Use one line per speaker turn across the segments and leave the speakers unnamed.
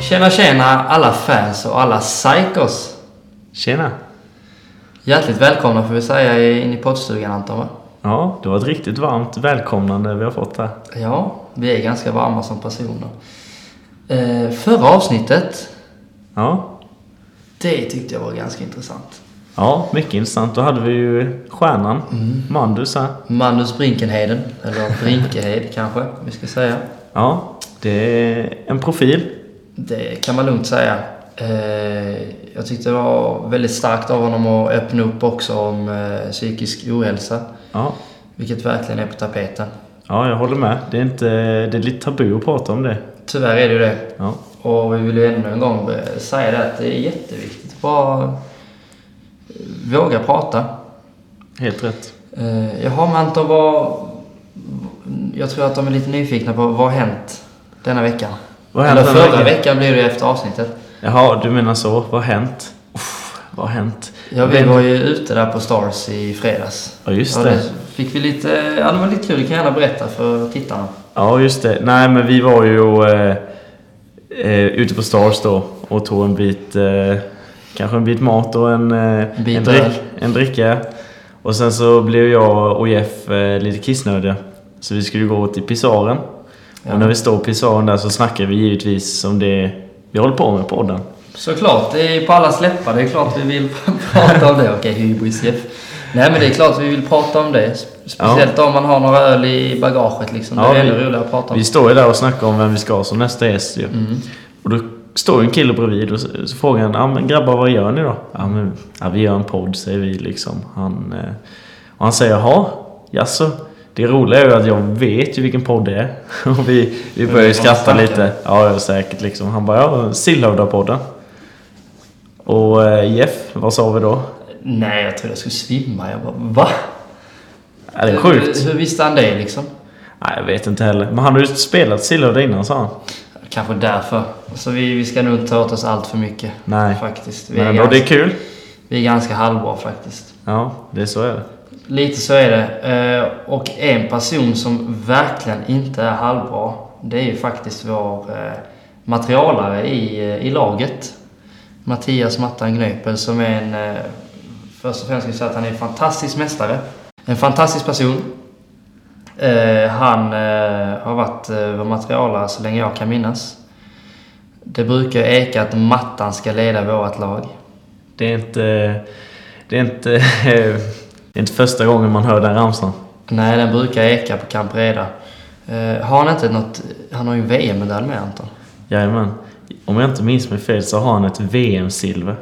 Tjena tjena alla fans och alla psychos!
Tjena!
Hjärtligt välkomna får vi säga in i poddstugan Anton va?
Ja, det var ett riktigt varmt välkomnande vi har fått här.
Ja, vi är ganska varma som personer. Eh, förra avsnittet,
Ja,
det tyckte jag var ganska intressant.
ja mycket intressant. Då hade vi ju stjärnan Mandus här.
Magnus Brinkenheden, eller Brinkehed kanske vi ska säga.
Ja, det är en profil.
Det kan man lugnt säga. Eh, jag tyckte det var väldigt starkt av honom att öppna upp också om eh, psykisk ohälsa.
Ja,
Vilket verkligen är på tapeten.
ja jag håller med. Det är, inte, det är lite tabu att prata om det.
Tyvärr är det ju det.
Ja,
Och vi vill ju ännu en gång säga det att det är jätteviktigt att bara eh, våga prata.
helt rätt.
Eh, Jaha, men Anton, vad... Jag tror att de är lite nyfikna på vad har hänt denna veckan?
Vad har
Eller
hänt denna
förra
veckan?
veckan blir det ju efter avsnittet.
Jaha, du menar så. Vad har hänt? Uff, vad har hänt?
Ja, vi
Vem-
var ju ute där på Stars i fredags.
Ja, just
Ja,
det.
fick vi lite... Ja, det var lite kul. Det kan jag gärna berätta för tittarna.
Ja, just det. Nej, men vi var ju eh, eh, ute på Stars då och tog en bit, eh, kanske en bit mat och en, eh,
En bit
en,
öl.
en dricka. Och sen så blev jag och Jeff eh, lite kissnödiga. Så vi skulle gå till pisaren.
Ja.
Och när vi står på pisaren där så snackar vi givetvis om det vi håller på med på podden.
Såklart, det är på allas läppar. Det är klart vi vill prata om det. Okej, hybris Jeff. Nej men det är klart vi vill prata om det. Spe- Speciellt om man har några öl i bagaget liksom.
Ja,
det är
vi-
ännu roligare att prata om.
Vi står ju där och snackar om vem vi ska ha som nästa gäst ju.
Mm.
Och då står en kille bredvid och så, så frågar han, ja men grabbar vad gör ni då? Ja men, ja, vi gör en podd säger vi liksom. Han, eh, och han säger, jaha, jaså? Det roliga är ju att jag vet ju vilken podd det är. Och vi, vi börjar ju
det var
skratta
snacken.
lite. Ja, ja, säkert liksom. Han bara, ja, Sillhövda-podden. Och eh, Jeff, vad sa vi då?
Nej, jag trodde jag skulle svimma. Jag bara, va?
Ja, det är sjukt.
Hur, hur visste han det liksom?
Nej, jag vet inte heller. Men han har ju spelat Sillhövda innan sa han.
Kanske därför. Så vi, vi ska nog inte ta åt oss allt för mycket.
Nej.
Faktiskt. Vi, är
Men ändå,
ganska,
det är kul.
vi är ganska halvbra faktiskt.
Ja, det är så är det.
Lite så är det. Eh, Och en person som verkligen inte är halvbra, det är ju faktiskt vår eh, materialare i, eh, i laget. Mattias Mattan Gnöpel som är en... eh, Först och främst ska vi säga att han är en fantastisk mästare. En fantastisk person. Eh, Han eh, har varit eh, vår materialare så länge jag kan minnas. Det brukar eka att Mattan ska leda vårt lag.
Det är inte... Det är inte... Det är inte första gången man hör den ramsan.
Nej, den brukar eka på Camp Reda. Eh, har han inte något... Han har ju en VM-medalj med Anton.
Jajamän. Om jag inte minns mig fel så har han ett VM-silver.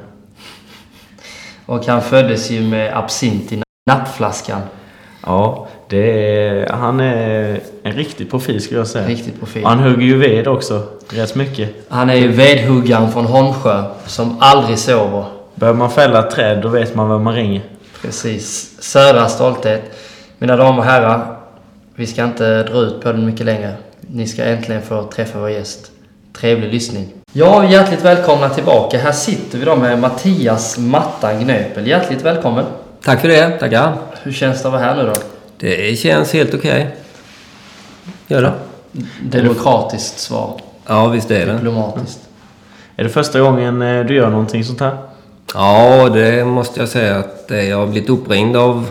Och han föddes ju med absint i nappflaskan.
Ja, det är... Han är en riktig profil skulle jag säga.
Riktigt profil.
Och han hugger ju ved också. Rätt mycket.
Han är ju vedhuggaren från Holmsjö som aldrig sover.
Behöver man fälla ett träd då vet man vem man ringer.
Precis. Södra stolthet. Mina damer och herrar, vi ska inte dra ut på den mycket längre. Ni ska äntligen få träffa vår gäst. Trevlig lyssning. Ja, hjärtligt välkomna tillbaka. Här sitter vi då med Mattias Mattan Gnöpel. Hjärtligt välkommen.
Tack för det, tackar.
Hur känns det att vara här nu då?
Det känns helt okej. Gör det?
Demokratiskt svar.
Ja, visst är det.
Diplomatiskt.
Är det första gången eh, du gör någonting sånt här?
Ja, det måste jag säga att eh, jag har blivit uppringd av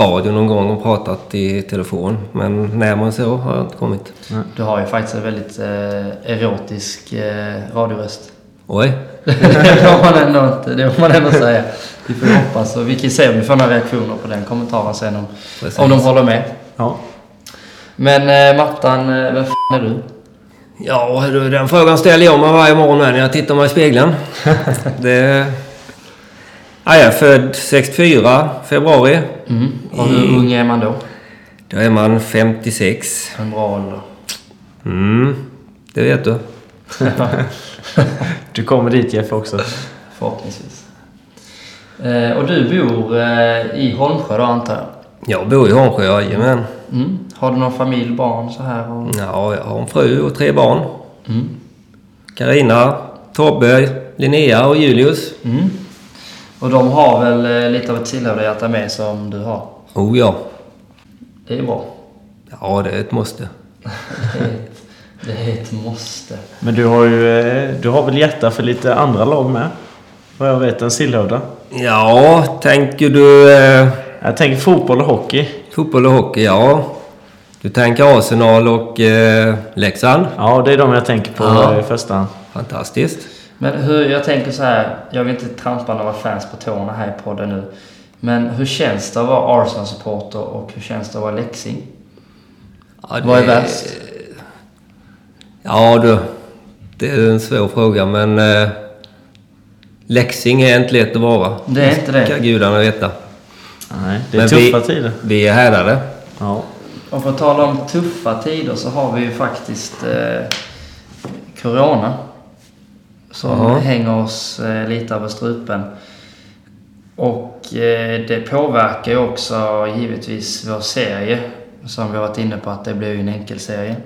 radio någon gång och pratat i telefon. Men närmare så har jag inte kommit.
Du har ju faktiskt en väldigt eh, erotisk eh, radioröst.
Oj.
det får man ändå inte, det får man ändå säga. Vi får hoppas och vi kan se om vi får några reaktioner på den kommentaren sen om,
Precis.
om de håller med.
Ja.
Men eh, Mattan, eh, vem fan är du?
Ja, du, den frågan ställer jag mig varje morgon när jag tittar mig i spegeln. det... Ja, jag är född 64, februari.
Och hur ung är man då?
Då är man 56.
En bra ålder.
Mm, det vet du.
Du kommer dit Jeff också.
Förhoppningsvis. Eh, och du bor eh, i Holmsjö då antar jag?
Jag bor i Hånsjö, jajamän.
Mm. Har du någon familj, barn så här? Och...
Ja, jag har en fru och tre barn.
Mm.
Karina, Tobbe, Linnea och Julius.
Mm. Och de har väl eh, lite av ett sillhövdehjärta med som du har?
Oh ja.
Det är bra.
Ja, det är ett måste.
Det är ett Det är ett måste.
Men du har ju... eh, Du har väl hjärta för lite andra lag med? Vad jag vet, en Sillhövda.
Ja, tänker du eh,
Jag tänker fotboll och hockey.
fotboll och hockey? Ja. Du tänker Arsenal och eh, Leksand?
Ja, det är de jag tänker på
Ja.
i första hand.
Fantastiskt.
Men hur, jag tänker så här, jag vill inte trampa några fans på tårna här i podden nu. Men hur känns det att vara Arsenal-supporter och hur känns det att vara Leksing?
Ja,
Vad är
det-
värst?
Ja du, det är en svår fråga men... Eh, Leksing är inte lätt att vara.
Det är inte
ska
det.
gudarna veta.
Nej, det är
Men
tuffa
vi,
tider.
Vi är härdade.
Ja.
Och för att tala om tuffa tider så har vi ju faktiskt eh, Corona. Som
Ja.
hänger oss eh, lite över strupen. Och eh, det påverkar ju också givetvis vår serie. Som vi har varit inne på att det blir ju en enkelserie.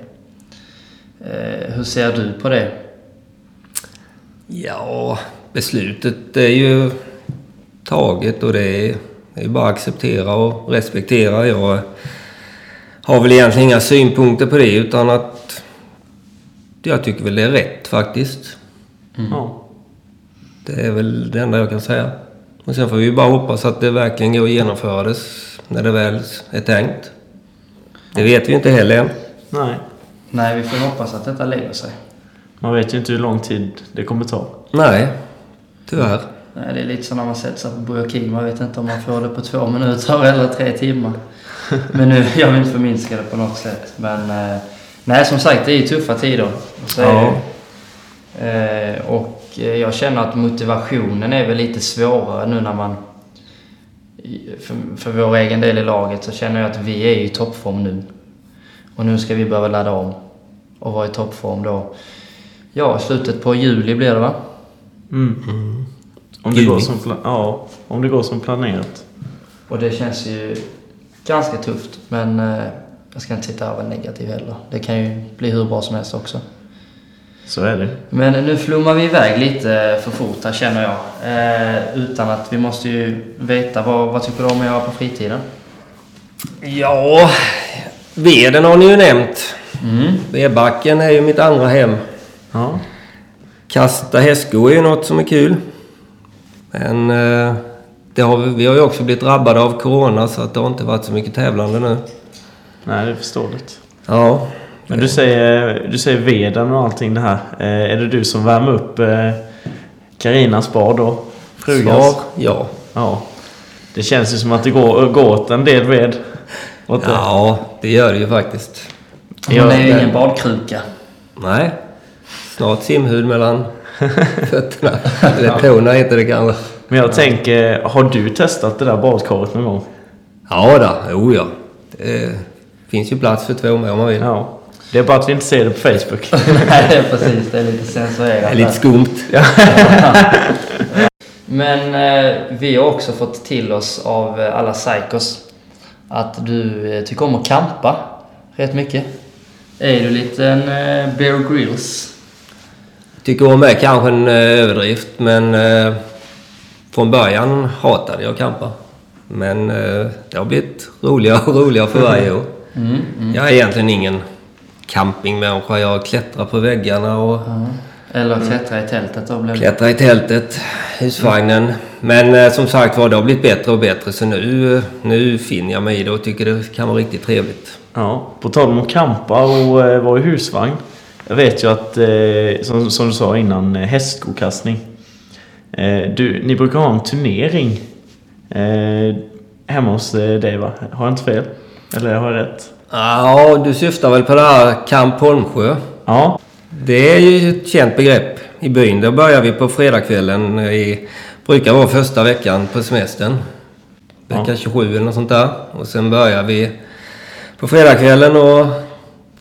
Eh, hur ser du på det?
Ja, beslutet är ju taget och det är, det är bara att acceptera och respektera. Jag har väl egentligen inga synpunkter på det utan att jag tycker väl det är rätt faktiskt.
ja.
Det är väl det enda jag kan säga. Och sen får vi ju bara hoppas att det verkligen går att genomföra det när det väl är tänkt. Det vet vi ju inte heller än.
Nej.
Nej, vi får hoppas att detta lägger sig.
Man vet ju inte hur lång tid det kommer ta.
Nej, tyvärr.
Nej, det är lite som när man sätter sig på Burger King. Man vet inte om man får det på två minuter eller tre timmar. Men nu, jag vill inte förminska det på något sätt. Men eh, nej, som sagt, det är ju tuffa tider. Och Så är det. ju. Eh, och eh, jag känner att motivationen är väl lite svårare nu när man... i- För, för vår egen del i laget så känner jag att vi är i toppform nu. Och nu ska vi behöva ladda om och vara i toppform då. Ja, slutet på juli blir det va?
Mm. Om, det
Juni.
går som pla- ja, om det går som planerat.
Och det känns ju ganska tufft. Men eh, jag ska inte sitta här och vara negativ heller. Det kan ju bli hur bra som helst också.
Så är det.
Men nu flummar vi iväg lite för fort här känner jag. Eh, utan att vi måste ju veta vad, vad tycker du om att göra på fritiden?
Ja, veden har ni ju nämnt.
Mm.
Vedbacken är ju mitt andra hem.
Ja.
Kasta hästskor är ju något som är kul. Men eh, det har, vi- vi har ju också blivit drabbade av corona så att det har inte varit så mycket tävlande nu.
Nej, det är förståeligt.
Ja,
Men du säger, du säger veden och allting det här. Eh, är det du som värmer upp eh, Karinas bar då? Frugans?
svar ja.
Ja. Det känns ju som att det går, går åt en del ved. Åt det.
Ja, det gör det ju faktiskt.
Hon är ju ingen badkruka.
Nej. Snart simhud mellan fötterna. Eller tårna heter det kanske.
Men jag tänker, har du testat det där badkaret någon gång?
Ja då, jo Oh ja. Det finns ju plats för två med om man vill.
Ja. Det är bara att vi inte ser det på Facebook.
Nej, det är precis. Det är lite censurerat.
Det är
där.
lite skumt.
Men eh, vi har också fått till oss av eh, alla psykos att du eh, tycker om att kampa rätt mycket. Är du liten eh, Bear Grylls?
Tycker om är kanske en eh, överdrift men eh, från början hatade jag campa. Men eh, det har blivit roligare och roligare för varje år. Jag är egentligen ingen campingmänniska. Jag klättrar på väggarna och
Eller klättra i tältet då blev det.
Klättra i tältet, husvagnen. Men eh, som sagt var, det har blivit bättre och bättre. Så nu, eh, nu finner jag mig i det och tycker det kan vara riktigt trevligt.
Ja, på tal om att campa och eh, vara i husvagn. Jag vet ju att, eh, som, som du sa innan, eh, hästskokastning. Eh, du, ni brukar ha en turnering eh, hemma hos eh, dig va? Har jag inte fel? Eller har jag rätt?
Ja, du syftar väl på det här Camp Holmsjö?
Ja,
Det är ju ett känt begrepp i byn. Då börjar vi på fredagskvällen. I, brukar vara första veckan på semestern. Vecka 27 eller något sånt där. Och sen börjar vi på fredagskvällen och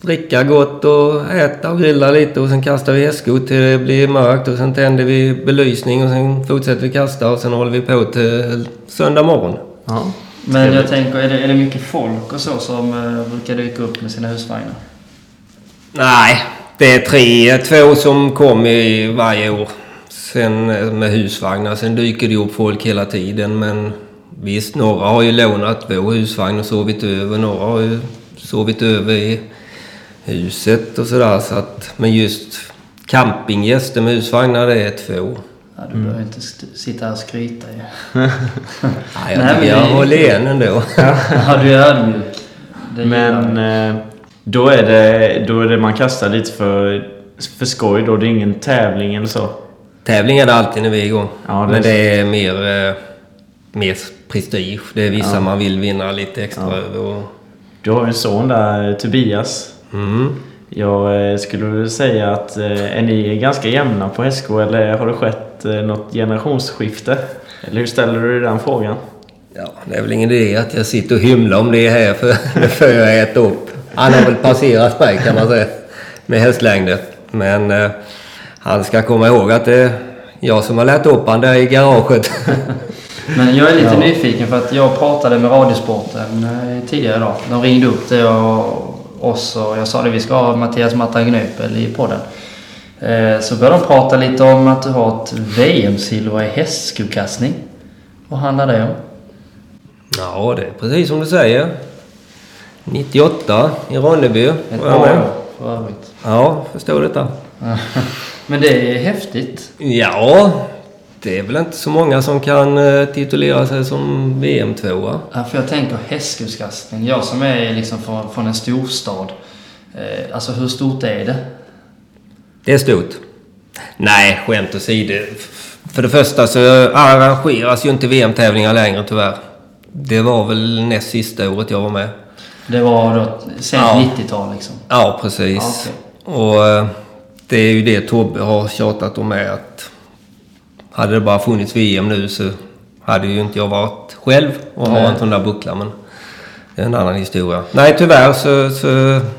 dricka gott och äta och grilla lite och sen kastar vi hästskor till det blir mörkt och sen tänder vi belysning och sen fortsätter vi kasta och sen håller vi på till söndag morgon.
ja.
Men jag tänker, är det, är det mycket folk och så som eh, brukar dyka upp med sina husvagnar?
Nej, det är tre, två som kommer i varje år. Sen eh, med husvagnar. Sen dyker det upp folk hela tiden. Men visst, några har ju lånat vår husvagn och sovit över. Några har ju sovit över i huset och sådär. Så att, men just campinggäster med husvagnar, det är två.
Ja, du behöver inte st- sitta här och skryta ju.
Nej, jag,
Nej,
tycker
men
jag
det-
håller igen ändå.
ja, du är ödmjuk. Det gillar
Men
jag.
eh, då är, det, då är det man kastar lite för, för skoj då. Det är ingen tävling eller så.
Tävling är det alltid när vi är igång.
Ja, det-
Men det är mer, eh, mer prestige. Det är vissa man vill vinna lite extra över. Och,
Du har ju en son där, eh, Tobias.
mm.
Jag eh, skulle väl säga att eh, är ni ganska jämna på SK eller har det skett eh, något generationsskifte? Eller hur ställer du dig den frågan?
Ja, det är väl ingen idé att jag sitter och hymlar om det här för, för jag är ett upp. Han har väl passerat mig kan man säga med hästlängder. Men eh, han ska komma ihåg att det är jag som har lärt upp han där i garaget.
Men jag är lite nyfiken för att jag pratade med Radiosporten eh, tidigare idag. De ringde upp till jag- oss och jag sa att vi ska ha Mattias Mattan Gnöpel i podden. Eh, Så började de prata lite om att du har ett VM-silver i hästskokastning. Vad handlar det om?
ja, det är precis som du säger. 98 i Ronneby.
Ett
var jag med.
bra för övrigt.
Ja, förstår detta.
Men det är häftigt.
Ja, det är väl inte så många som kan eh, titulera sig som VM-tvåa.
Ja, för jag tänker hästskokastning. Jag som är liksom från, från en storstad. Eh, Alltså hur stort är det?
Det är stort. Nej, skämt åsido. F- För det första så arrangeras ju inte VM-tävlingar längre tyvärr. Det var väl näst sista året jag var med.
Det var då sent
Ja.
90-tal liksom.
Ja, precis. Och eh, det är ju det Tobbe har tjatat om med att hade det bara funnits VM nu så hade ju inte jag varit själv och ha en sån där buckla. Men det är en annan historia. Nej, tyvärr så, så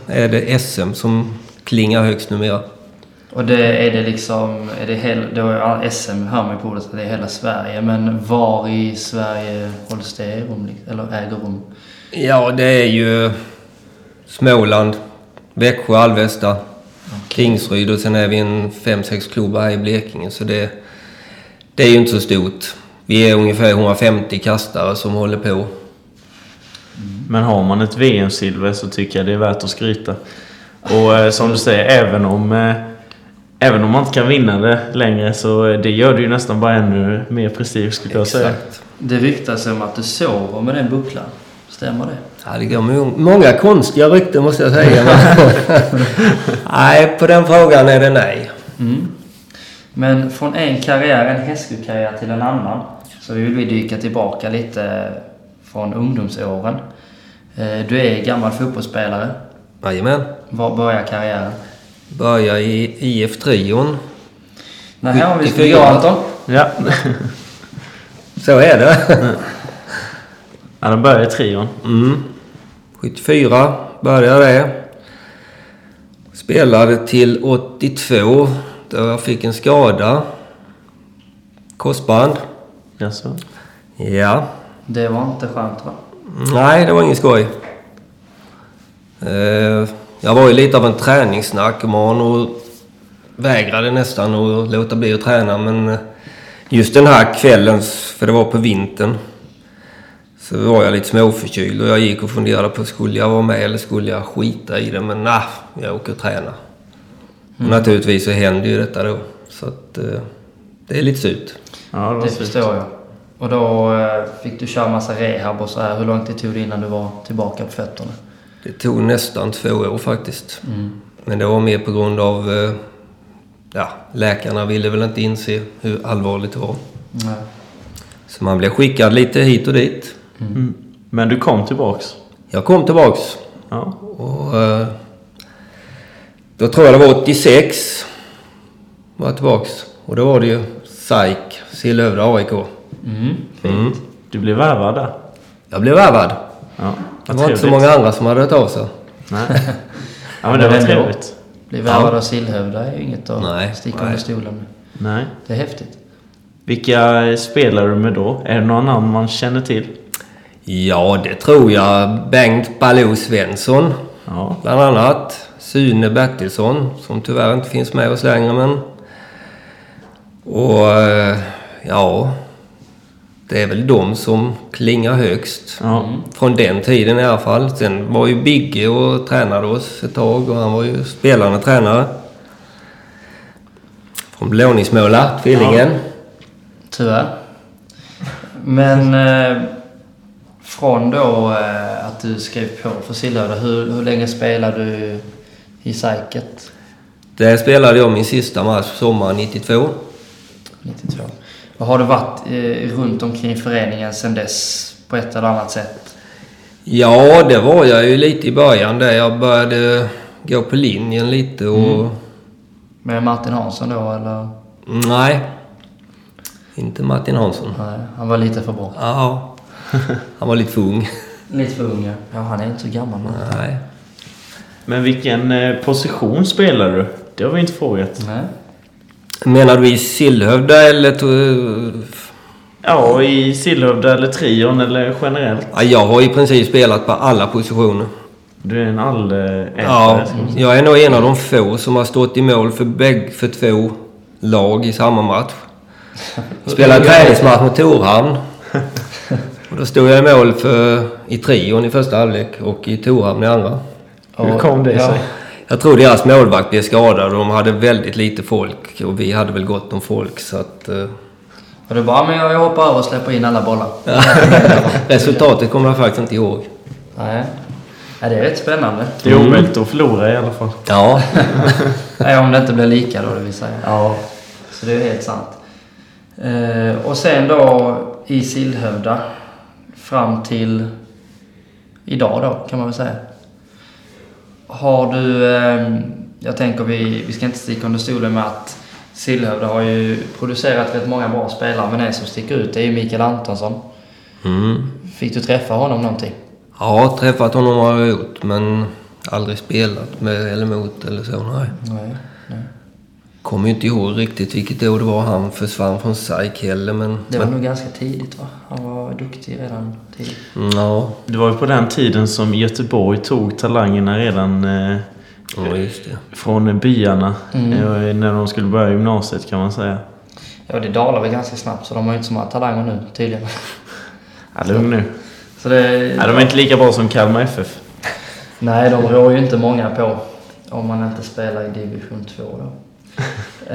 är det SM som klingar högst numera.
Och det är det liksom, är det hel, då är SM hör man ju på ordet att det är hela Sverige. Men var i Sverige hålls det rum, li- eller äger rum?
Ja, det är ju Småland, Växjö, Alvesta, Tingsryd och sen är vi en fem sex klubbar här i Blekinge. Så det, det är ju inte så stort. Vi är ungefär 150 kastare som håller på.
Men har man ett VM-silver så tycker jag det är värt att skryta. Och eh, som du säger, även om, eh, även om man inte kan vinna det längre så eh, det gör det ju nästan bara ännu mer prestige skulle jag säga.
Det ryktas om att du sover med den bucklan. Stämmer det?
Ja, det går må- många konstiga rykten måste jag säga. men- nej, på den frågan är det nej.
Mm. Men från en karriär, en hästskokarriär till en annan. Så vill vi dyka tillbaka lite från ungdomsåren. Eh, Du är gammal fotbollsspelare.
Jajamän.
Var börjar karriären?
Börjar i IF-trion.
Nej, här har vi
74.
Stig Anton.
Ja.
Så är det.
ja, den börjar i trion.
Mm. 74 började jag det. Spelade till 82 då jag fick en skada. Korsband.
Jaså?
Ja.
Det var inte skönt va?
Nej, det var ingen skoj. Eh, Jag var ju lite av en träningsnarkoman och vägrade nästan att låta bli att träna. Men eh, just den här kvällen, för det var på vintern, så var jag lite småförkyld och jag gick och funderade på skulle jag vara med eller skulle jag skita i det. Men nej, jag åker och tränar. Och naturligtvis så händer ju detta då. Så att eh, det är lite surt.
Ja, det var
Det
surt.
förstår jag. Och då eh, fick du köra massa rehab och så här. Hur lång tid tog det innan du var tillbaka på fötterna?
Det tog nästan två år faktiskt.
Mm.
Men det var mer på grund av... eh, Ja, läkarna ville väl inte inse hur allvarligt det var.
Nej.
Så man blev skickad lite hit och dit.
Mm. Men du kom tillbaks?
Jag kom tillbaks
Ja.
och... eh, Då tror jag det var 86. Var jag tillbaks. Och då var det ju SAIK, Sillhövda AIK.
Mm.
Mm.
Du blev värvad där?
Jag blev värvad.
Ja.
Det
Vad
var inte så
trevligt.
många andra som hade hört av sig.
Nej. Ja, men det var
Men ändå.
trevligt.
Bli värvad av Sillhövda är ju inget att
Nej,
sticka
nej.
under stolen med.
Nej.
Det är häftigt.
Vilka spelar du med då? Är det några namn man känner till?
Ja, det tror jag. Bengt Baloo Svensson.
Ja.
Bland annat Sune Bertilsson, som tyvärr inte finns med oss längre. Men... Och eh, ja... Det är väl de som klingar högst.
Ja.
Från den tiden i alla fall. Sen var ju Bigge och tränade oss ett tag och han var ju spelande tränare. Från Blåningsmåla, Tvillingen.
Tyvärr. Men eh, från då eh, att du skrev på för Sillhöjda, hur, hur länge spelade du i SAIKet?
Där spelade jag min sista match sommaren 92.
92. Och har du varit eh, runt omkring föreningen sedan dess på ett eller annat sätt?
Ja, det var jag ju lite i början där. Jag började gå på linjen lite och...
Med Martin Hansson då eller?
Nej. Inte Martin Hansson.
Nej, han var lite för bra.
Ja. Han var lite för ung.
Lite för ung ja. Ja, han är inte så gammal men.
Nej.
Men vilken eh, position spelar du? Det har vi inte frågat.
Nej.
Menar du i Sillhövda eller... to-
Ja, i Sillhövda eller Trion eller generellt.
Ja, jag har i princip spelat på alla positioner.
Du är en allätare.
Ja, jag är nog en av de få som har stått i mål för, bägge, för två lag i samma match. Spelade träningsmatch mot Torhamn. Och då stod jag i mål för, i trion i första halvlek och i Torhamn i andra.
Hur kom det
Ja.
sig?
Jag tror deras målvakt blev skadad och de hade väldigt lite folk. Och vi hade väl gott om folk så att... eh,
Och du bara, men jag jag hoppar över och släpper in alla bollar.
Resultatet kommer jag faktiskt inte ihåg.
Nej. Ja, det är rätt spännande.
Det är omöjligt
Mm.
att förlora i alla fall.
Ja,
Nej, om det inte blir lika då, det vill säga.
Ja.
Så det är helt sant. Eh, och sen då i Sillhövda fram till idag då kan man väl säga. Har du, eh, jag tänker vi, vi ska inte sticka under stolen med att Sillhövda har ju producerat rätt många bra spelare men en som sticker ut det är ju Mikael Antonsson. Fick du träffa honom någonting?
Mm. ja träffat honom har jag gjort men aldrig spelat med eller mot eller så. Nej.
Nej.
Kommer ju inte ihåg riktigt vilket år det var han försvann från SAIK heller men...
Det var nog ganska tidigt va? Han var duktig redan tidigt.
men ja,
Det var ju på den tiden som Göteborg tog talangerna redan eh,
ja, just det.
från byarna.
Mm.
Eh, när de skulle börja gymnasiet kan man säga.
Ja, det dalar väl ganska snabbt så de har ju inte så många talanger nu tydligen.
Ja, lugn nu.
Så det,
Ja, de är inte lika bra som Kalmar FF.
Nej, de rår ju inte många på om man inte spelar i division 2 då.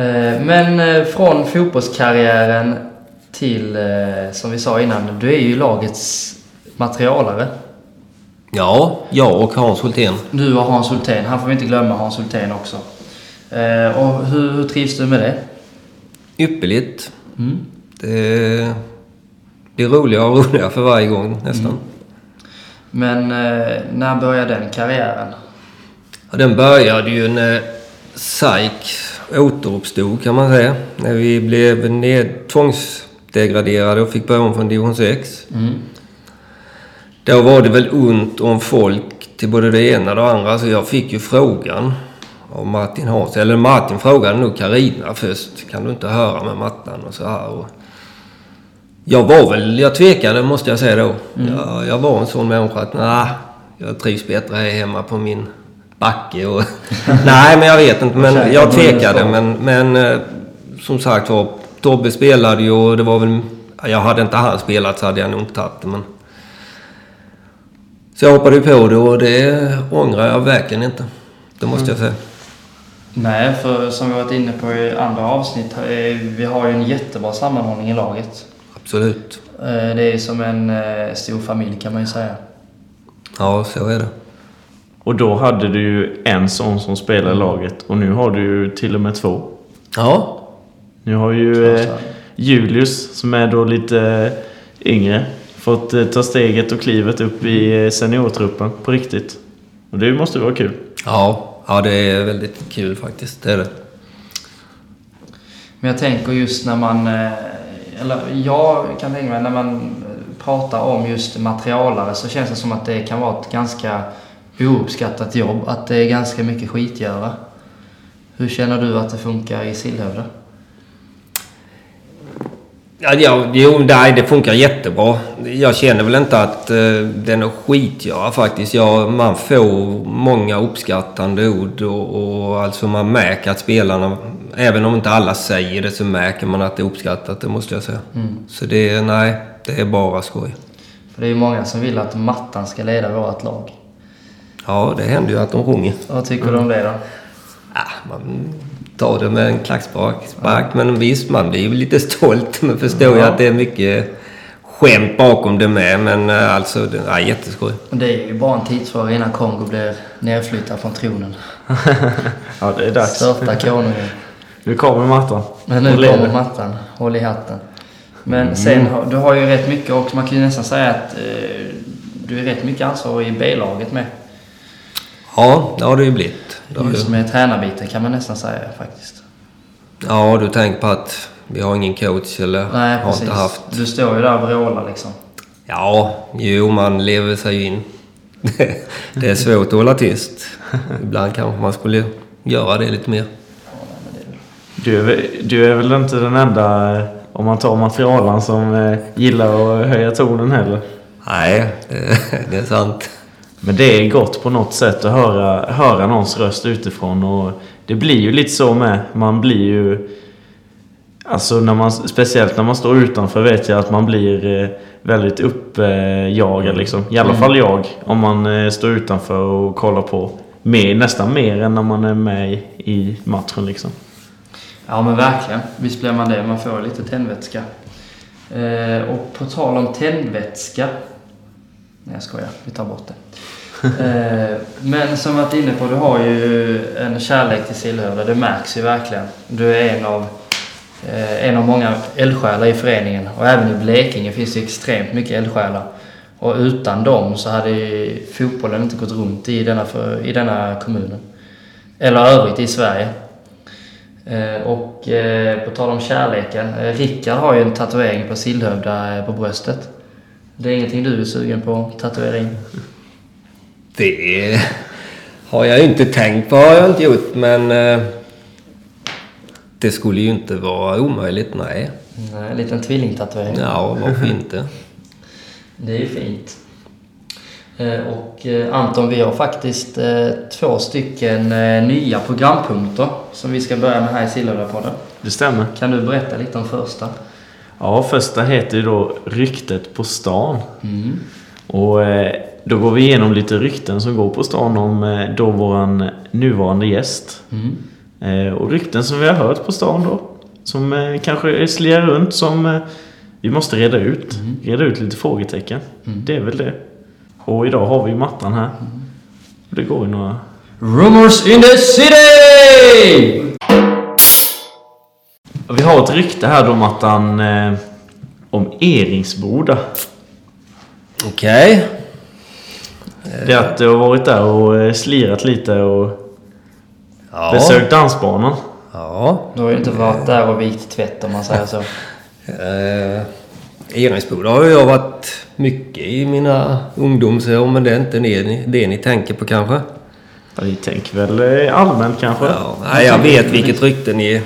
Eh, Men eh, från fotbollskarriären till, eh, som vi sa innan, du är ju lagets materialare.
Ja, jag och Hans Hultén.
Du och Hans Hultén, han får vi inte glömma Hans Hultén också. Eh, Och hur, hur trivs du med det?
Ypperligt. Mm. Det blir roligare och roligare för varje gång nästan.
Mm. Men eh, när börjar den karriären?
Ja, den började ju när SAIK återuppstod kan man säga. När vi blev ned, tvångsdegraderade och fick börja om från division 6. Då var det väl ont om folk till både det ena och det andra så jag fick ju frågan av Martin Hansson. Eller Martin frågade nog Karina först. Kan du inte höra med Mattan och så här. Och jag var väl, jag tvekade måste jag säga då. Jag, jag var en sån människa att nah, jag trivs bättre här hemma på min backe och... Nej men jag vet inte men jag tvekade men, men eh, som sagt var Tobbe spelade ju och det var väl... Jag hade inte han spelat så hade jag nog inte tagit det men... Så jag hoppade ju på det och det ångrar jag verkligen inte. Det måste jag säga.
Nej, för som vi varit inne på i andra avsnitt, eh, vi har ju en jättebra sammanhållning i laget.
Absolut.
Eh, Det är som en eh, stor familj kan man ju säga.
Ja, så är det.
Och då hade du ju en sån som spelar i laget och nu har du ju till och med två.
Ja.
Nu har ju eh,
Två, så.
Julius, som är då lite eh, yngre, fått eh, ta steget och klivet upp i eh, seniortruppen på riktigt. Och det måste ju vara kul.
Ja. Ja, det är väldigt kul faktiskt. Det är det.
Men jag tänker just när man, eh, eller jag kan tänka mig, när man eh, pratar om just materialare så känns det som att det kan vara ett ganska ouppskattat jobb. Att det är ganska mycket skitgöra. Hur känner du att det funkar i Sillhövda?
Ja, ja, jo, nej, det funkar jättebra. Jag känner väl inte att eh, det är något skitgöra faktiskt. Ja, man får många uppskattande ord och, och alltså man märker att spelarna, Mm. även om inte alla säger det så märker man att det är uppskattat, det måste jag säga. Så det, nej, Det är bara skoj.
För det är ju många som vill att Mattan ska leda vårt lag.
Ja, det händer ju att de sjunger.
Vad tycker du om det då?
Ah, man tar det med en klackspark. Spark. Men visst, man blir ju lite stolt. Man förstår ju
Ja.
att det är mycket skämt bakom det med. Men eh, alltså, det är jätteskoj.
Det är ju bara en tidsfråga innan Kongo blir nedflyttad från tronen.
ja, det är dags.
Störta konungen.
Nu kommer mattan.
Men nu
Och leder.
kommer mattan. Håll i hatten. Men
Mm.
sen, har- du har ju rätt mycket också. Man kan ju nästan säga att eh, du är rätt mycket ansvarig i B-laget med.
Ja, det har det ju blivit. Det har
Just
ju-
med tränarbiten kan man nästan säga faktiskt.
Ja, du tänker på att vi har ingen coach eller
Nej,
har
precis.
inte haft.
Du står ju där och vrålar liksom.
Ja, jo, man lever sig ju in. det är svårt att hålla tyst. Ibland kanske man skulle göra det lite mer.
Du är, väl- du är väl inte den enda, eh, om man tar materialen, som eh, gillar att höja tonen heller.
Nej, det, det är sant.
Men det är gott på något sätt att höra, höra någons röst utifrån. Och det blir ju lite så med. Man blir ju... Alltså när man, speciellt när man står utanför vet jag att man blir eh, väldigt uppjagad. liksom. I alla fall jag. Om man eh, står utanför och kollar på. Mer, nästan mer än när man är med i, i matchen. Liksom.
Ja men verkligen. Visst blir man det. Man får lite tändvätska. Eh, och på tal om tändvätska. Nej jag skojar. Vi tar bort det. Eh, men som jag varit inne på, du har ju en kärlek till Sillhövda. Det märks ju verkligen. Du är en av, eh, en av många eldsjälar i föreningen. Och även i Blekinge finns det extremt mycket eldsjälar. Och utan dem så hade ju fotbollen inte gått runt i denna, för, i denna kommunen. Eller övrigt i Sverige. Eh, Och eh, på tal om kärleken. eh, Rickard har ju en tatuering på Sillhövda eh, på bröstet. Det är ingenting du är sugen på? Tatuering?
Det har jag ju inte tänkt på, har jag inte gjort, men... eh, Det skulle ju inte vara omöjligt, nej.
Nej, En liten tvillingtatuering.
Ja, varför inte?
Det är ju fint. Eh, Och eh, Anton, vi har faktiskt eh, två stycken eh, nya programpunkter som vi ska börja med här i Sillhövdapodden.
Det stämmer.
Kan du berätta lite om första?
Ja, första heter ju då Ryktet på stan. Och eh, då går vi igenom lite rykten som går på stan om eh, då våran nuvarande gäst. Eh, Och rykten som vi har hört på stan då. Som eh, kanske slirar runt som eh, vi måste reda ut. Reda ut lite frågetecken. Det är väl det. Och idag har vi mattan här. Det går ju några...
Rumors in the city!
Vi har ett rykte här då mattan eh, om Eringsboda.
Okej.
Det är att du har varit där och eh, slirat lite och
Ja.
besökt dansbanan.
ja.
Du har ju inte varit där och vikt tvätt om man säger så.
Eh, Enhetsboda har jag varit mycket i mina ungdomsår, men det är inte det ni, det ni tänker på kanske?
Ja, vi tänker väl eh, allmänt kanske.
Ja, nej,
Alltså,
jag vet vilket rykte ni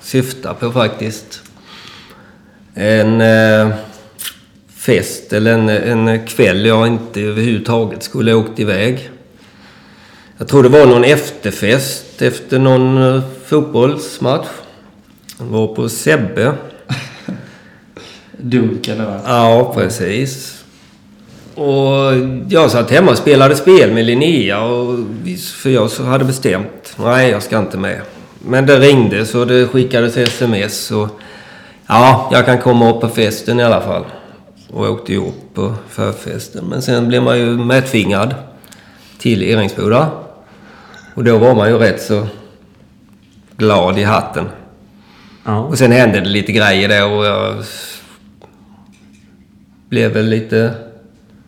syftar på faktiskt. En eh, fest eller en, en kväll jag inte överhuvudtaget skulle ha åkt iväg. Jag tror det var någon efterfest efter någon eh, fotbollsmatch. Jag var på Sebbe.
Dunken nu va?
Ja, precis. Och jag satt hemma och spelade spel med Linnea och vi- för jag så hade bestämt. Nej, jag ska inte med. Men det ringde så det skickades sms och ja, jag kan komma upp på festen i alla fall. Och jag åkte ju upp på förfesten. Men sen blev man ju mätfingrad till Eringsboda. Och då var man ju rätt så glad i hatten.
Ja.
Och sen hände det lite grejer där och jag blev väl lite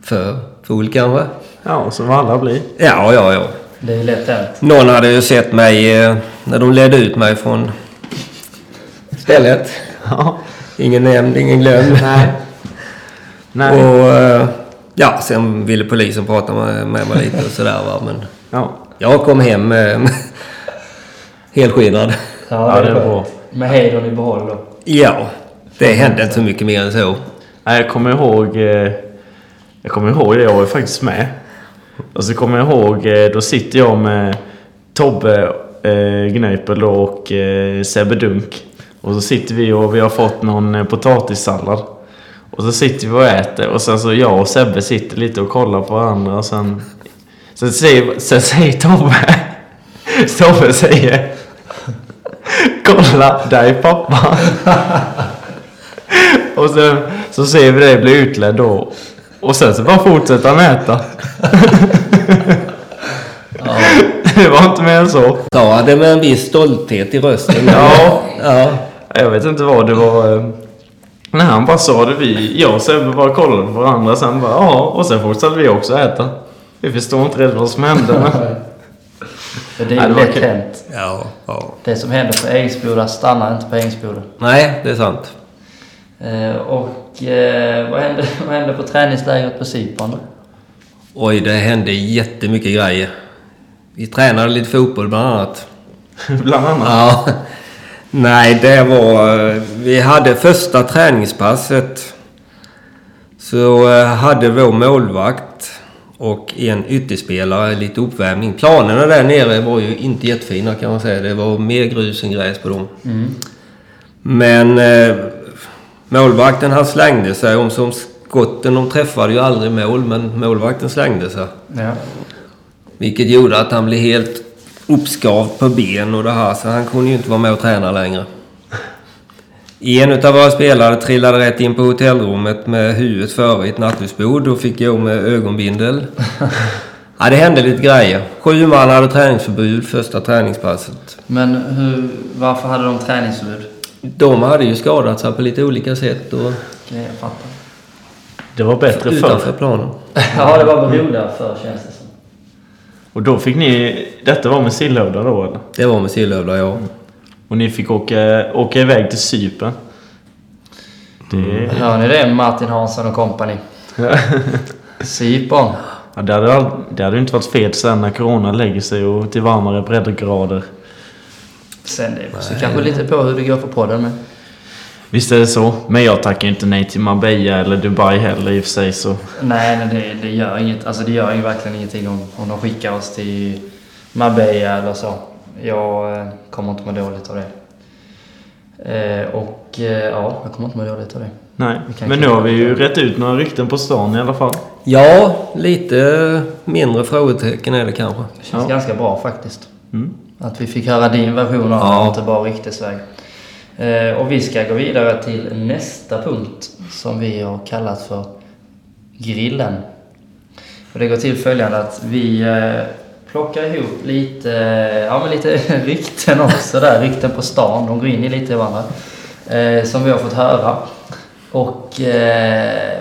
för full kanske.
ja, som alla blir.
Ja, ja, ja.
Det är lätt hänt.
Någon hade ju sett mig eh, när de ledde ut mig från stället.
Ja.
Ingen nämnd, ingen glömd.
Nej. Nej.
Och eh, ja, sen ville polisen prata med, med mig lite och sådär va. Men
Ja.
jag kom hem eh, helskinnad.
Ja, det är
skönt.
bra.
Med hedern i behåll då.
Ja, det hände inte så mycket mer än så.
Nej, jag kommer ihåg... eh, Jag kommer ihåg det. Jag var ju faktiskt med. Och så kommer jag ihåg, eh, då sitter jag med Tobbe eh, Gnöpel då och eh, Sebbe Dunk. Och så sitter vi och vi har fått någon eh, potatissallad. Och så sitter vi och äter och sen så jag och Sebbe sitter lite och kollar på varandra och sen... Sen säger, sen säger Tobbe... Tobbe säger... Kolla, där är pappa! och sen så ser vi dig bli utledd då. Och sen så bara fortsätter han äta. det var inte mer än så.
Sa det med en viss stolthet i rösten.
Ja.
ja.
Jag vet inte vad det var. eh, När han bara sa det, vi, jag och Sebbe bara kollade på varandra sen bara ja, och sen fortsatte vi också äta. Vi förstår inte riktigt vad som hände.
För det
Nej,
är
det
ju
var
lätt
kul.
hänt.
Ja, ja.
Det som händer på Ängsboda stannar inte på Ängsboda.
Nej, det är sant.
Eh, och eh, vad, hände, vad hände på träningslägret på Cypern då?
Oj, det hände jättemycket grejer. Vi tränade lite fotboll bland annat.
Bland annat.
Ja. Nej, det var... Vi hade första träningspasset. Så eh, hade vår målvakt och en ytterspelare lite uppvärmning. Planerna där nere var ju inte jättefina kan man säga. Det var mer grus än gräs på dem. Men eh, målvakten han slängde sig om som skotten. De träffade ju aldrig mål men målvakten slängde sig.
Ja.
Vilket gjorde att han blev helt uppskavd på ben och det här, så han kunde ju inte vara med och träna längre. En utav våra spelare trillade rätt in på hotellrummet med huvudet före i ett nattduksbord. Då fick jag med ögonbindel. ja, det hände lite grejer. Sju man hade träningsförbud första träningspasset.
Men hur, varför hade de träningsförbud?
De hade ju skadat sig på lite olika sätt och
Okej, jag fattar.
Det var bättre förr.
utanför planen.
ja, det var väl roligare förr känns det som.
Och då fick ni... Detta var med Sillhövda då eller?
Det var med Sillhövda, ja.
Och ni fick åka, åka iväg till Cypern. Det...
Hör ni det Martin Hansson och company? Cypern.
Ja, det, hade, ald- det hade ju inte varit fel sen när Corona lägger sig och till varmare breddgrader.
Sen det så kanske lite på hur det går för podden med.
Visst är det så. Men jag tackar ju inte nej till Marbella eller Dubai heller i och för sig så...
Nej, nej det, det gör inget. Alltså det gör ju verkligen ingenting om, om de skickar oss till Marbella eller så. Jag eh, kommer inte må dåligt av det. Eh, och eh, ja, jag kommer inte må dåligt av det.
Nej,
Vi kan
men nu
klippa
har vi
bort
ju rätt ut några rykten på stan i alla fall.
Ja, lite mindre frågetecken är det kanske.
Det känns
Ja.
ganska bra faktiskt.
Mm.
Att vi fick höra din version av
Ja.
det, inte bara ryktesväg. Eh, och vi ska gå vidare till nästa punkt som vi har kallat för grillen. Och det går till följande att vi eh, plockar ihop lite, eh, ja, men lite rykten också där, rykten på stan. De går in i lite i varandra. Eh, som vi har fått höra. Och eh,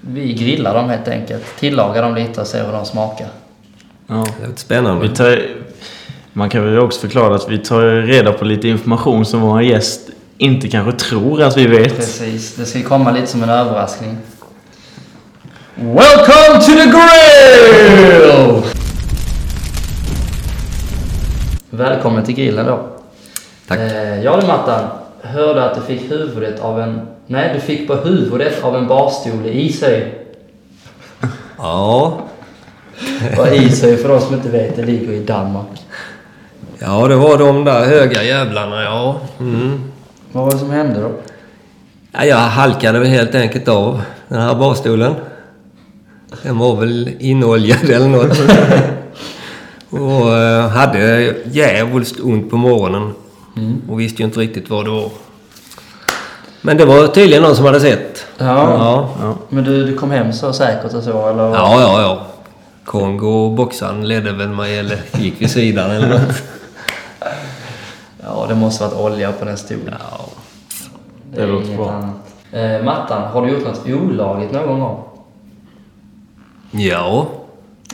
vi grillar dem helt enkelt. Tillagar dem lite och ser hur de smakar.
Ja.
Det är lite spännande.
Vi tar, man kan väl också förklara att vi tar reda på lite information som vår gäst inte kanske tror att vi vet.
Precis, det ska ju komma lite som en överraskning. Welcome to the grill! Välkommen till grillen då.
Tack.
Eh, ja du Mattan, hörde att du fick huvudet av en... Nej, du fick på huvudet av en barstol i Ishöj.
Ja,
Och Ishöj, för de som inte vet, det ligger i Danmark.
Ja, det var de där höga jävlarna, ja. Mm.
Vad var det som hände då?
ja jag halkade väl helt enkelt av den här barstolen. Den var väl inoljad eller något. och eh, hade jävligt ont på morgonen. Och visste ju inte riktigt vad det var. Men det var tydligen någon som hade sett. Ja,
Ja.
Men du, du kom hem så säkert och så, eller?
ja, ja. ja. Kongo och boxaren ledde väl mig eller gick vid sidan eller något.
Ja, det måste varit olja på den stolen. Det,
Ja.
är låter bra. Annat. Eh, Mattan, har du gjort något olagligt någon gång?
ja.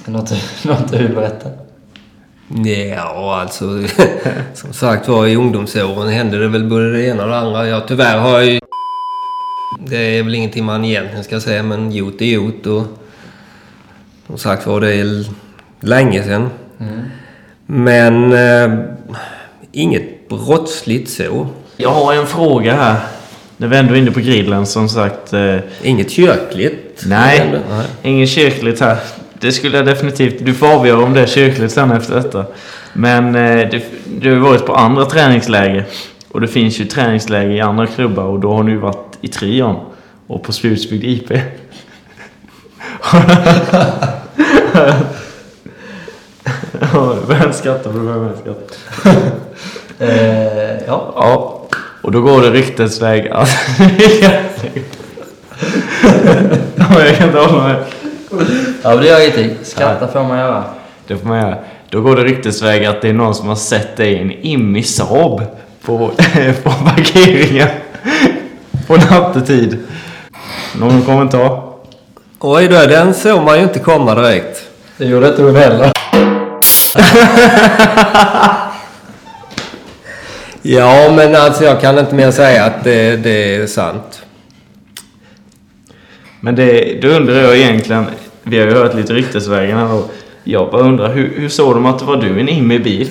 Något, något du vill berätta?
Ja, alltså som sagt var i ungdomsåren hände det väl både det ena och det andra. Ja, tyvärr har jag ju... Det är väl ingenting man egentligen ska säga, men gjort är gjort och... Som sagt var, det är l- länge sedan. Men... Eh, inget brottsligt så.
Jag har en fråga här. När vi ändå är inne på grillen som sagt. Eh,
Inget kyrkligt.
nej, ingen kyrkligt här. Det skulle jag definitivt... Du får avgöra om det är kyrkligt sen efter detta. Men eh, det, du har ju varit på andra träningsläger. Och det finns ju träningsläger i andra klubbar och då har ni ju varit i trion. och på Spjutsbygd IP. Ja, Vem skrattar? Vem vem skrattar?
Eh, ja.
Ja, och då går det ryktesväg att... ja, jag kan inte hålla mig.
ja, men det gör ingenting. Skratta får man göra.
Det får man göra. Då går det ryktesväg att det är någon som har sett dig i en immig Saab på, på parkeringen på nattetid. Någon kommentar?
Oj då, den såg man ju inte komma direkt.
Det gjorde inte hon heller.
Ja, men alltså jag kan inte mer säga att det, det är sant.
Men det, då undrar jag egentligen, vi har ju hört lite ryktesvägen här då. Jag bara undrar, hur, hur såg de att det var du i en immig bil?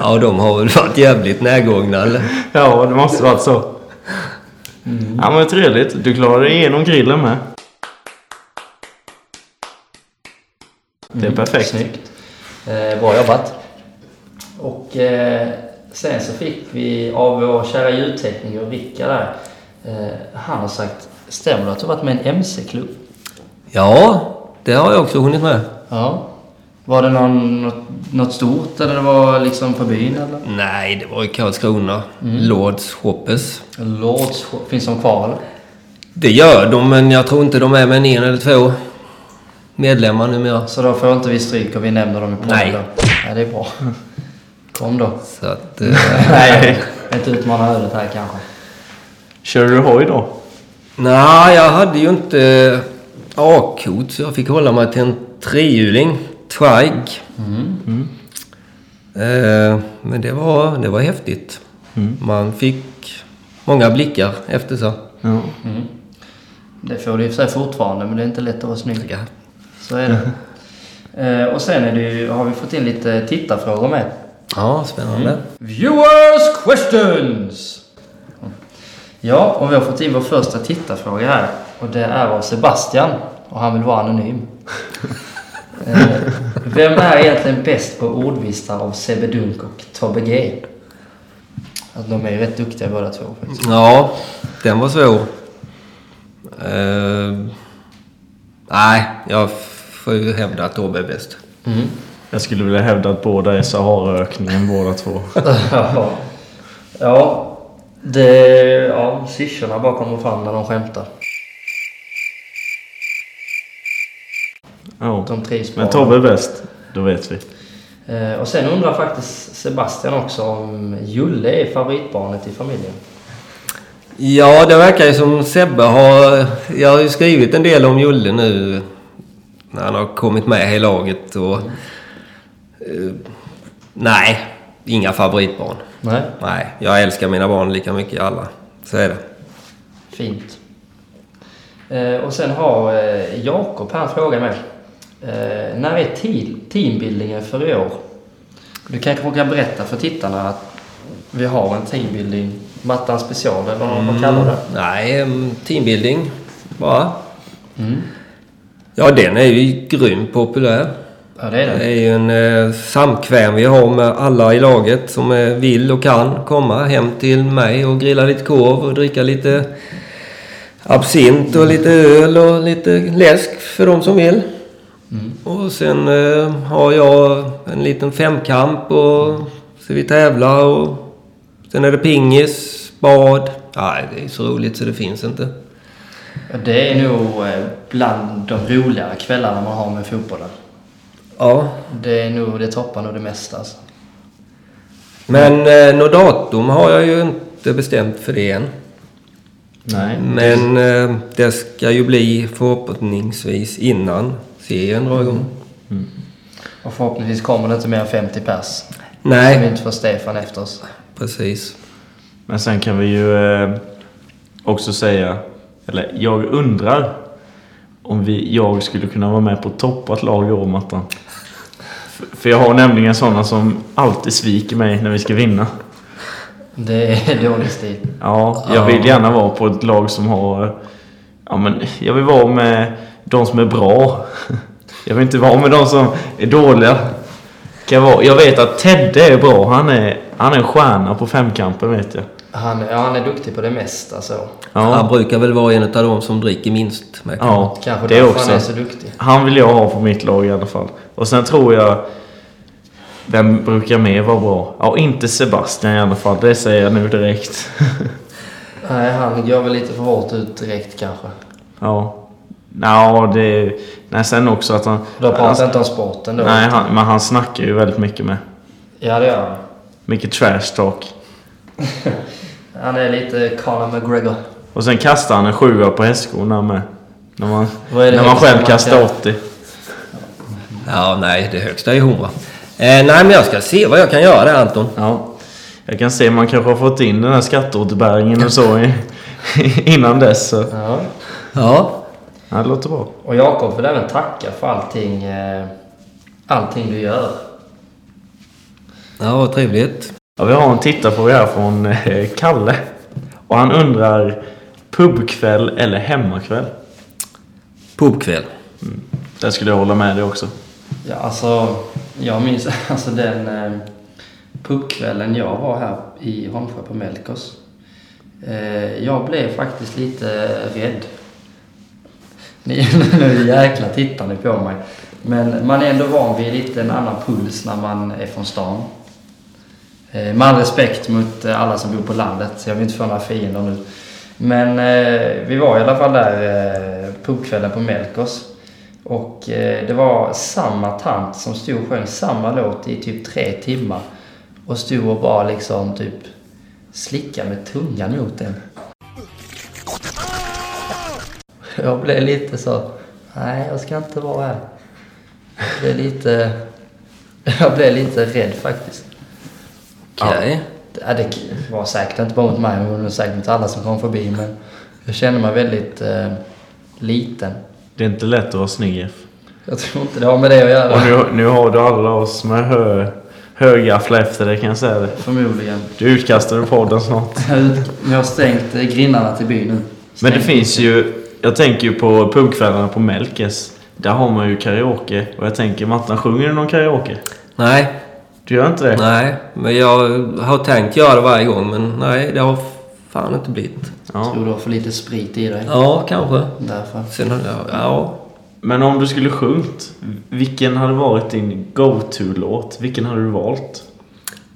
Ja, de har väl varit jävligt närgångna eller?
Ja, det måste varit så. Ja, men trevligt. Du klarade dig igenom grillen med. Det är perfekt.
Snyggt. Eh, bra jobbat. Och eh, sen så fick vi av vår kära ljudtekniker Rickard där. Eh, han har sagt, stämmer det att du har varit med i en MC-klubb?
Ja, det har jag också hunnit med.
Ja. Var det någon, något, något stort eller det var liksom på byn eller?
Nej, det var i Karlskrona. Lords Hoppes.
Lords, finns de kvar eller?
Det gör de, men jag tror inte de är med en eller två medlemmar numera.
Så då får inte vi stryk och vi nämner dem i podden
Nej.
då? Nej. det är bra. Kom då.
Så att... Eh,
Nej, jag vill inte utmana ödet här kanske.
Kör du hoj då?
nej, jag hade ju inte eh, A-kort, så jag fick hålla mig till en trehjuling. Twig. Eh, men det var, det var häftigt. Man fick många blickar efter sig.
Ja.
Mm. Det får du i och för sig fortfarande, men det är inte lätt att vara snygg.
Ja.
Så är det. Eh, och sen är det ju, har vi fått in lite tittarfrågor med.
Ja, spännande.
Viewers questions! Ja, och vi har fått in vår första tittarfråga här. Och det är av Sebastian. Och han vill vara anonym. eh, vem är egentligen bäst på ordvitsar av Sebbe Dunk och Tobbe G? Alltså, de är ju rätt duktiga båda två faktiskt.
Ja, den var svår. Eh, nej, jag får ju hävda att Tobbe är bäst.
Mm.
Jag skulle vilja hävda att båda är Saharaöknen båda två.
ja. ja. Det... Ja, syrsorna bara kommer fram när de skämtar.
Ja.
De trivs bra.
Men Tobbe är bäst, då vet vi.
Eh, Och sen undrar faktiskt Sebastian också om Julle är favoritbarnet i familjen.
Ja, det verkar ju som Sebbe har... Jag har ju skrivit en del om Julle nu när han har kommit med i laget och... eh, nej, inga favoritbarn.
Nej.
Nej, jag älskar mina barn lika mycket alla. Så är det.
Fint. Eh, Och sen har eh, Jakob här en fråga med. Eh, När är te- teambildningen för i år? Du kanske kan berätta för tittarna att vi har en teambildning, Mattan special eller vad man kallar det.
Nej, mm, teambuilding bara.
Mm.
Ja, den är ju grymt populär.
Ja, det är
Det
det.
är ju en eh, samkväm vi har med alla i laget som eh, vill och kan komma hem till mig och grilla lite korv och dricka lite absint och lite öl och lite läsk för de som vill. Och sen eh, har jag en liten femkamp och så vi tävlar och sen är det pingis, bad. Nej, det är så roligt så det finns inte.
Ja, Det är nog eh, bland de roligare kvällarna man har med fotbollen.
Ja,
Det, är nog, det toppar nog det mesta alltså.
men eh, något datum har jag ju inte bestämt för det än.
Nej.
Men eh, det ska ju bli förhoppningsvis innan serien drar igång.
Och förhoppningsvis kommer det inte mer än 50 pers. Så vi
Nej,
inte får Stefan efter oss.
precis.
Men sen kan vi ju eh, också säga, eller jag undrar om vi, jag skulle kunna vara med på toppat lag i år Mattan. F- För jag har nämligen sådana som alltid sviker mig när vi ska vinna.
Det är dålig stil.
Ja, jag vill gärna vara på ett lag som har... Ja, men jag vill vara med de som är bra. Jag vill inte vara med de som är dåliga. Kan jag, vara, jag vet att Tedde är bra. Han är, han är en stjärna på femkampen vet jag.
Han, ja, han är duktig på det mesta så.
Han brukar väl vara en av de som dricker minst. märker man.
Ja,
Kanske
det
därför
också.
han är så duktig.
Han vill jag ha på mitt lag i alla fall. Och sen tror jag... Vem brukar mer vara bra? Ja, inte Sebastian i alla fall. Det säger jag nu direkt.
Nej, han går väl lite för hårt ut direkt kanske.
ja. Nja, det... Nej, sen också att han...
Då pratar jag
han
inte om sporten då.
nej, han, men han snackar ju väldigt mycket med.
Ja, det gör han.
Mycket trash talk.
Han är lite Conor McGregor.
Och sen kastar han en sjua på hästskorna med. När man,
Vad är det
när man
högsta
själv
man
kastar
kan-
80.
Ja, nej, det högsta är hon va. Eh, nej, men jag ska se vad jag kan göra där Anton.
Ja. Jag kan se man kanske har fått in den här skatteåterbäringen och så i, innan dess. Så.
Ja.
Ja,
Ja, det låter bra.
Och Jakob vill även tacka för allting, eh, allting du gör.
ja vad trevligt.
Ja, vi har en tittarfråga här från eh, Kalle. Och han undrar pubkväll eller hemmakväll?
Pubkväll.
Där skulle jag hålla med dig också.
Ja, alltså, jag minns alltså den eh, pubkvällen jag var här i Holmsjö på Melkos. Eh, jag blev faktiskt lite rädd. Ni, nu jäkla tittar ni på mig. Men man är ändå van vid lite en annan puls när man är från stan. Eh, med all respekt mot eh, alla som bor på landet, så jag vill inte få några fiender nu. Men eh, vi var i alla fall där eh, pubkvällen på Melkos. Och eh, det var samma tant som stod och sjöng samma låt i typ tre timmar. Och stod och bara liksom typ slickade med tungan mot den. Jag blev lite så, nej jag ska inte vara här. Jag blev lite, jag blev lite rädd faktiskt.
Okej.
Ja, det var säkert inte bara mot mig, men det var säkert mot alla som kom förbi. Men jag kände mig väldigt eh, liten.
Det är inte lätt att vara snygg Jeff.
Jag tror inte det har med det att
Och
göra.
nu, nu har du alla oss med hö, högafflar efter dig kan jag säga det.
Förmodligen.
Du utkastar ur podden snart.
Jag har ut- Jag har stängt eh, grindarna till byn nu.
Men
Stängt.
det finns ju... Jag tänker ju på pubkvällarna på Melkes. Där har man ju karaoke. Och jag tänker, Mattan, sjunger du någon karaoke?
Nej,
Du gör inte det?
nej. Men jag har tänkt göra det varje gång men nej, det har fan inte blivit.
Jag
Ja.
tror du har för lite sprit i dig.
Ja, kanske.
Därför.
Sen har jag... Ja.
Men om du skulle sjungit, vilken hade varit din go-to-låt? Vilken hade du valt?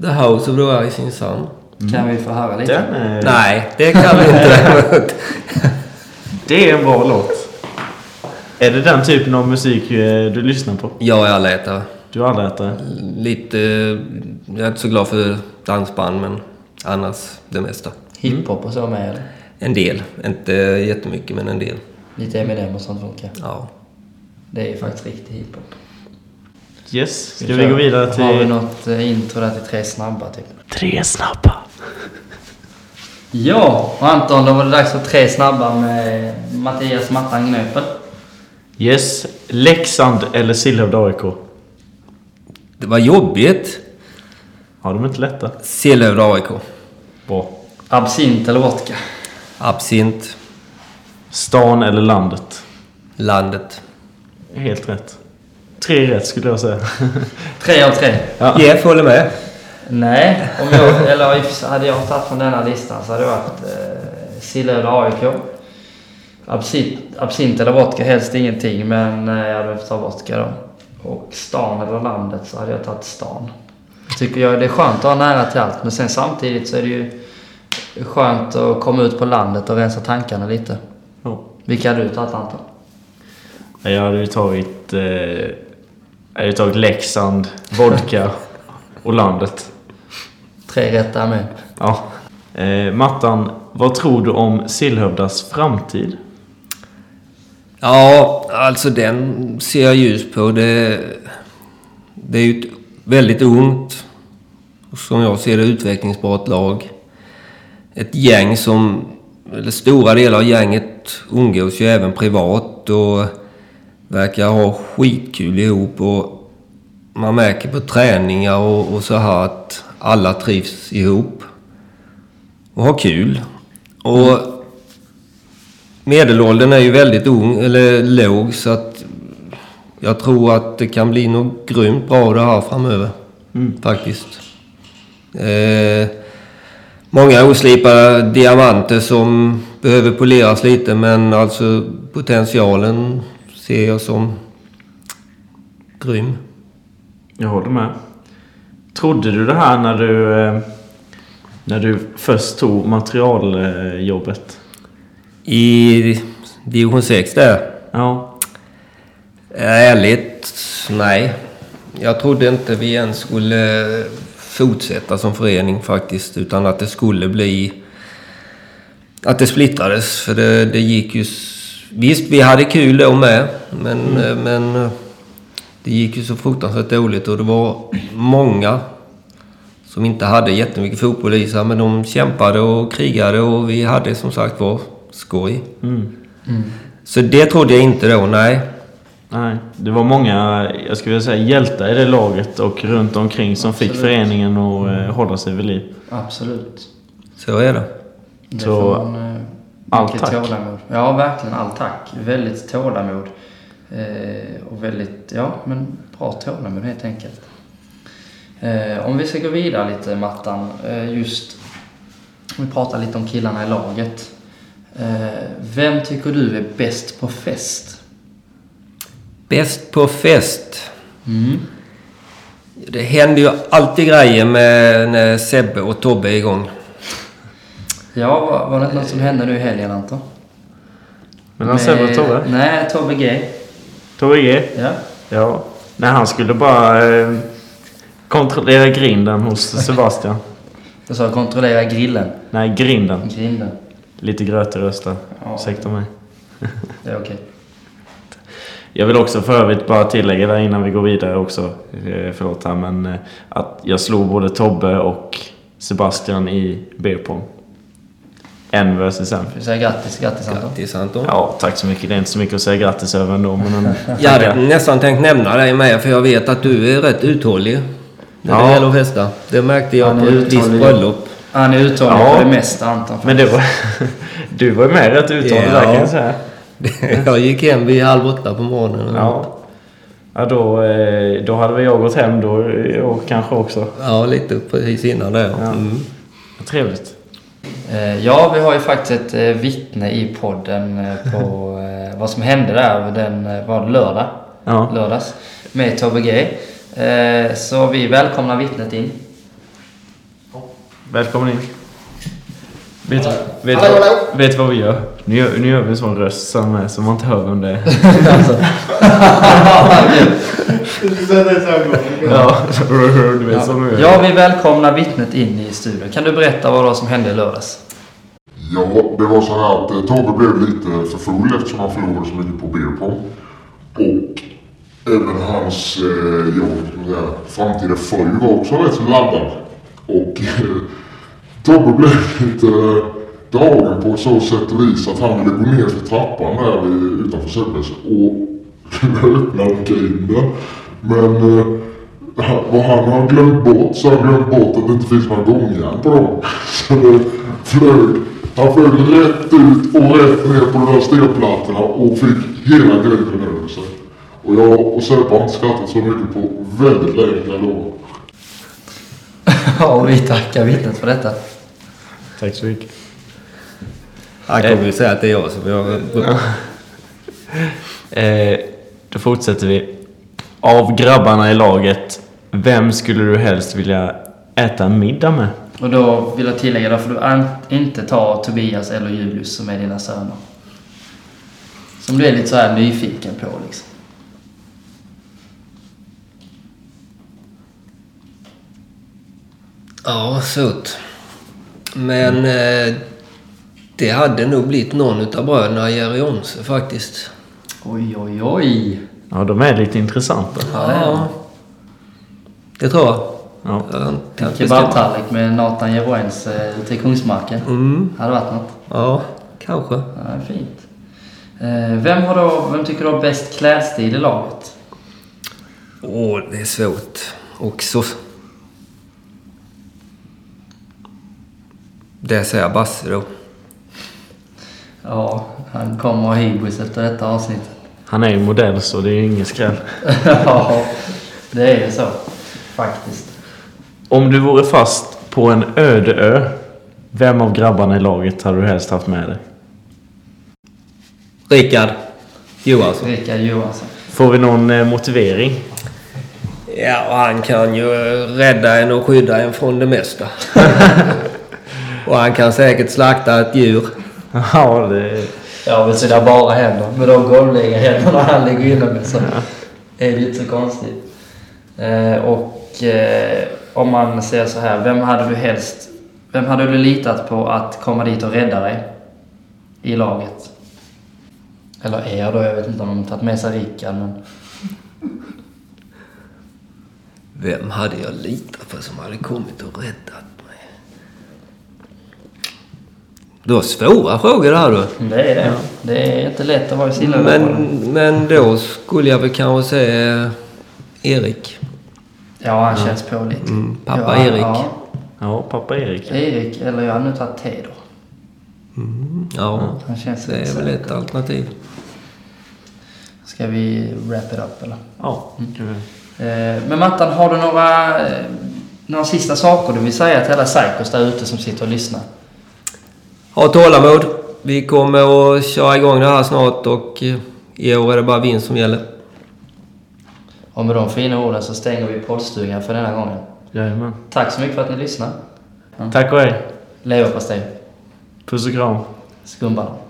The House of the Rising Sun.
Mm.
Kan vi få höra lite?
Den är,
Nej, det kan vi inte.
Det är en bra låt. Är det den typen av musik eh, du lyssnar på?
jag är allätare.
Du är allätare?
Lite... Jag är inte så glad för dansband men annars det mesta.
Mm.
Hiphop och så med eller?
En del. Inte jättemycket men en del.
Lite Eminem och sånt funkar.
Ja.
Det är ju faktiskt riktig hiphop.
Yes, ska vi
kör.
gå vidare
Har vi
till...
något eh, intro där till tre snabba typ?
Tre snabba.
Ja, och Anton då var det dags för tre snabba med Mattias Mattan Gnöpel.
Yes, Leksand eller Sillhövd AIK?
Det var jobbigt.
Ja, de är inte lätta.
Sillhövd AIK.
Bra.
Absint eller vodka?
Absint.
Stan eller landet?
Landet.
Helt rätt. Tre rätt skulle jag säga.
Tre av tre.
Ja.
Jeff håller med.
Nej, om jag, eller i och för sig, hade jag tagit från denna listan så hade det varit eh, Sillhöjd AIK. Absint, absint eller vodka, helst ingenting men eh, jag hade väl fått ta vodka då. Och stan eller landet så hade jag tagit stan. Jag tycker jag det är skönt att ha nära till allt men sen samtidigt så är det ju skönt att komma ut på landet och rensa tankarna lite.
Ja.
Vilka hade du tagit Anton?
Nej, Jag hade ju tagit... Eh, jag hade ju tagit Leksand, vodka och landet.
Tre rätt där med.
Ja. Eh, Mattan, vad tror du om Sillhövdas framtid?
Ja, alltså den ser jag ljus på. Det, det är ju ett väldigt ungt, och som jag ser det, utvecklingsbart lag. Ett gäng som, eller stora delar av gänget, umgås ju även privat och verkar ha skitkul ihop. Och man märker på träningar och, och så här att alla trivs ihop och har kul. Och Medelåldern är ju väldigt ung, eller låg, så att jag tror att det kan bli något Mm. grymt bra av det här framöver. Faktiskt. Eh, många oslipade diamanter som behöver poleras lite men alltså potentialen ser jag som grym.
Jag håller med. Trodde du det här när du, eh, när du först tog materialjobbet?
I division 6 där
Ja.
Eh, Ärligt, nej. Jag trodde inte vi ens skulle fortsätta som förening faktiskt. Utan att det skulle bli... Att det splittrades. För det, det gick ju... s- Visst, vi hade kul då med. Men, eh, men eh, det gick ju så fruktansvärt dåligt. Och det var många som inte hade jättemycket fotboll i sig. Men de kämpade och krigade och vi hade som sagt var skoj.
Mm.
Så det trodde jag inte då, nej.
Nej, det var många, jag skulle vilja säga hjältar i det laget och runt omkring som fick
Absolut.
föreningen att eh, hålla sig vid liv.
Absolut.
Så är det.
Det
Så,
får man, eh,
all
mycket
tack.
Tålamod. Ja, verkligen all tack. Väldigt tålamod. Eh, och väldigt, ja men bra tålamod helt enkelt. Eh, om vi ska gå vidare lite Mattan. Eh, just, vi pratar lite om killarna i laget. Eh, vem tycker du är bäst på fest?
Bäst på fest.
Mm.
Det händer ju alltid grejer med när Sebbe och Tobbe är igång.
Ja, var, var det inte något som hände nu i helgen Anton?
Men han säger
Med-
vad Tobbe?
Nej, Tobbe G.
Tobbe G?
Ja.
Ja. När han skulle bara eh, kontrollera grinden hos Sebastian.
Jag sa kontrollera grillen.
Nej, grinden.
Grinden.
Lite gröt i rösten.
Ja.
Ursäkta mig.
Det är okej.
Jag vill också för övrigt bara tillägga där innan vi går vidare också. eh, Förlåt här men eh, att jag slog både Tobbe och Sebastian i beerpong. En versus en.
Vi säger grattis, grattis Anton.
Grattis Anton.
Ja, tack så mycket. Det är inte så mycket att säga grattis över ändå. Men en,
Jag hade nästan tänkt nämna dig med för jag vet att du är rätt uthållig. När det
Ja.
gäller att festa. Det märkte jag
Han är
på ett visst
uthållig.
bröllop.
Han är uttagen
Ja.
på det mesta Anton.
men det var, du var ju med rätt uttalat där kan
Ja. Mm.
jag säga.
jag gick hem vid halv åtta på morgonen.
Ja. Ja, då, eh, då hade väl jag gått hem då eh, och kanske också.
Ja, lite precis innan det. Ja. Mm.
Trevligt.
Eh, Ja, vi har ju faktiskt ett eh, vittne i podden eh, på eh, vad som hände där. Den eh, var det lördag.
Ja.
Lördags. Med Tobbe G. Eh, Så vi välkomnar vittnet in.
Mm.
Välkommen in. Vet du vet,
Hallå, hallå.
vad- vet vad vi gör? Nu gör, nu gör vi en sån röst som, eh, som man inte hör vem det är. ja, du vet som nu
Ja, vi välkomnar vittnet in i studion. Kan du berätta vad det var som hände i lördags?
Ja, det var så här att eh, Tobbe blev lite för full eftersom han förlorade så mycket på beerpong. Och även hans eh, ja, vad ska jag säga, framtida fru var också rätt så laddad. Och eh, Tobbe blev lite eh, dragen på så sätt och vis att han ville gå ner för trappan där vid- utanför Södres och öppna grinden. Men eh, han- vad han har glömt bort så har han glömt bort att det inte finns några gångjärn på dem. Så det flög. Han flög rätt ut och rätt ner på de där stenplattorna och fick hela grinden över sig. Och jag och Sebbe har inte skrattat så mycket på väldigt länge kan jag lova.
Ja, och vi tackar vittnet för detta.
Tack så mycket.
Han kommer ju säga att det är jag som gör
Eh, då fortsätter vi. Av grabbarna i laget, vem skulle du helst vilja äta en middag med?
Och då vill jag tillägga, då får du an- inte ta Tobias eller Julius som är dina söner. Som du är lite så här nyfiken på liksom.
Ja, surt. Men eh, det hade nog blivit någon utav bröderna Jerry Jonse faktiskt.
Oj, oj, oj.
Ja, de är lite intressanta.
Ja. Det tror jag.
Ja.
Jag har inte haft bestämt.
Kebabtallrik med Nathan Jeroens eh, ute i Kungsmarken.
Mm.
Hade varit något.
Ja, kanske.
Ja, det är fint. Eh, vem, har då, vem tycker du har bäst klädstil i laget?
Åh, det är svårt. Och så... Det säger jag Basse då.
Ja, han kommer ha hybris efter detta avsnitt.
Han är ju modell så det är ju ingen skräll.
ja, det är ju så. Faktiskt.
Om du vore fast på en öde ö, Vem av grabbarna i laget hade du helst haft med dig?
Rickard Johansson.
Rickard Johansson.
Får vi någon eh, motivering?
Ja, och han kan ju rädda en och skydda en från det mesta. och han kan säkert slakta ett djur.
ja, det...
Ja, med sina bara händer. Med de golvliga händerna han ligger inne med så är det ju inte så konstigt. Eh, och eh, om man säger så här, vem hade du helst... Vem hade du litat på att komma dit och rädda dig? I laget. Eller er då, jag vet inte om de tagit med sig Rickard men...
Vem hade jag litat på som hade kommit och räddat mig? Det var svåra frågor det här du.
Mm, Det är det. Det är inte lätt att vara i sina
Men, men då skulle jag väl kanske säga Erik.
Ja, han känns pålitlig.
Mm, pappa
ja,
Erik.
Ja,
Ja, pappa Erik.
Erik, eller jag hade nu tagit Theodor.
Ja,
Han känns
det är
lite
väl
säker.
ett alternativ.
Ska vi wrap it up eller?
Ja.
Eh, Men Mattan, har du några, eh, några sista saker du vill säga till alla psykos där ute som sitter och lyssnar?
Ha tålamod. Vi kommer att köra igång det här snart och eh, i år är det bara vinst som gäller.
Och med de fina orden så stänger vi poddstugan för denna gången.
Jajamän.
Tack så mycket för att ni lyssnade.
Tack och hej.
Leverpastej,
Puss och kram.
skumballong.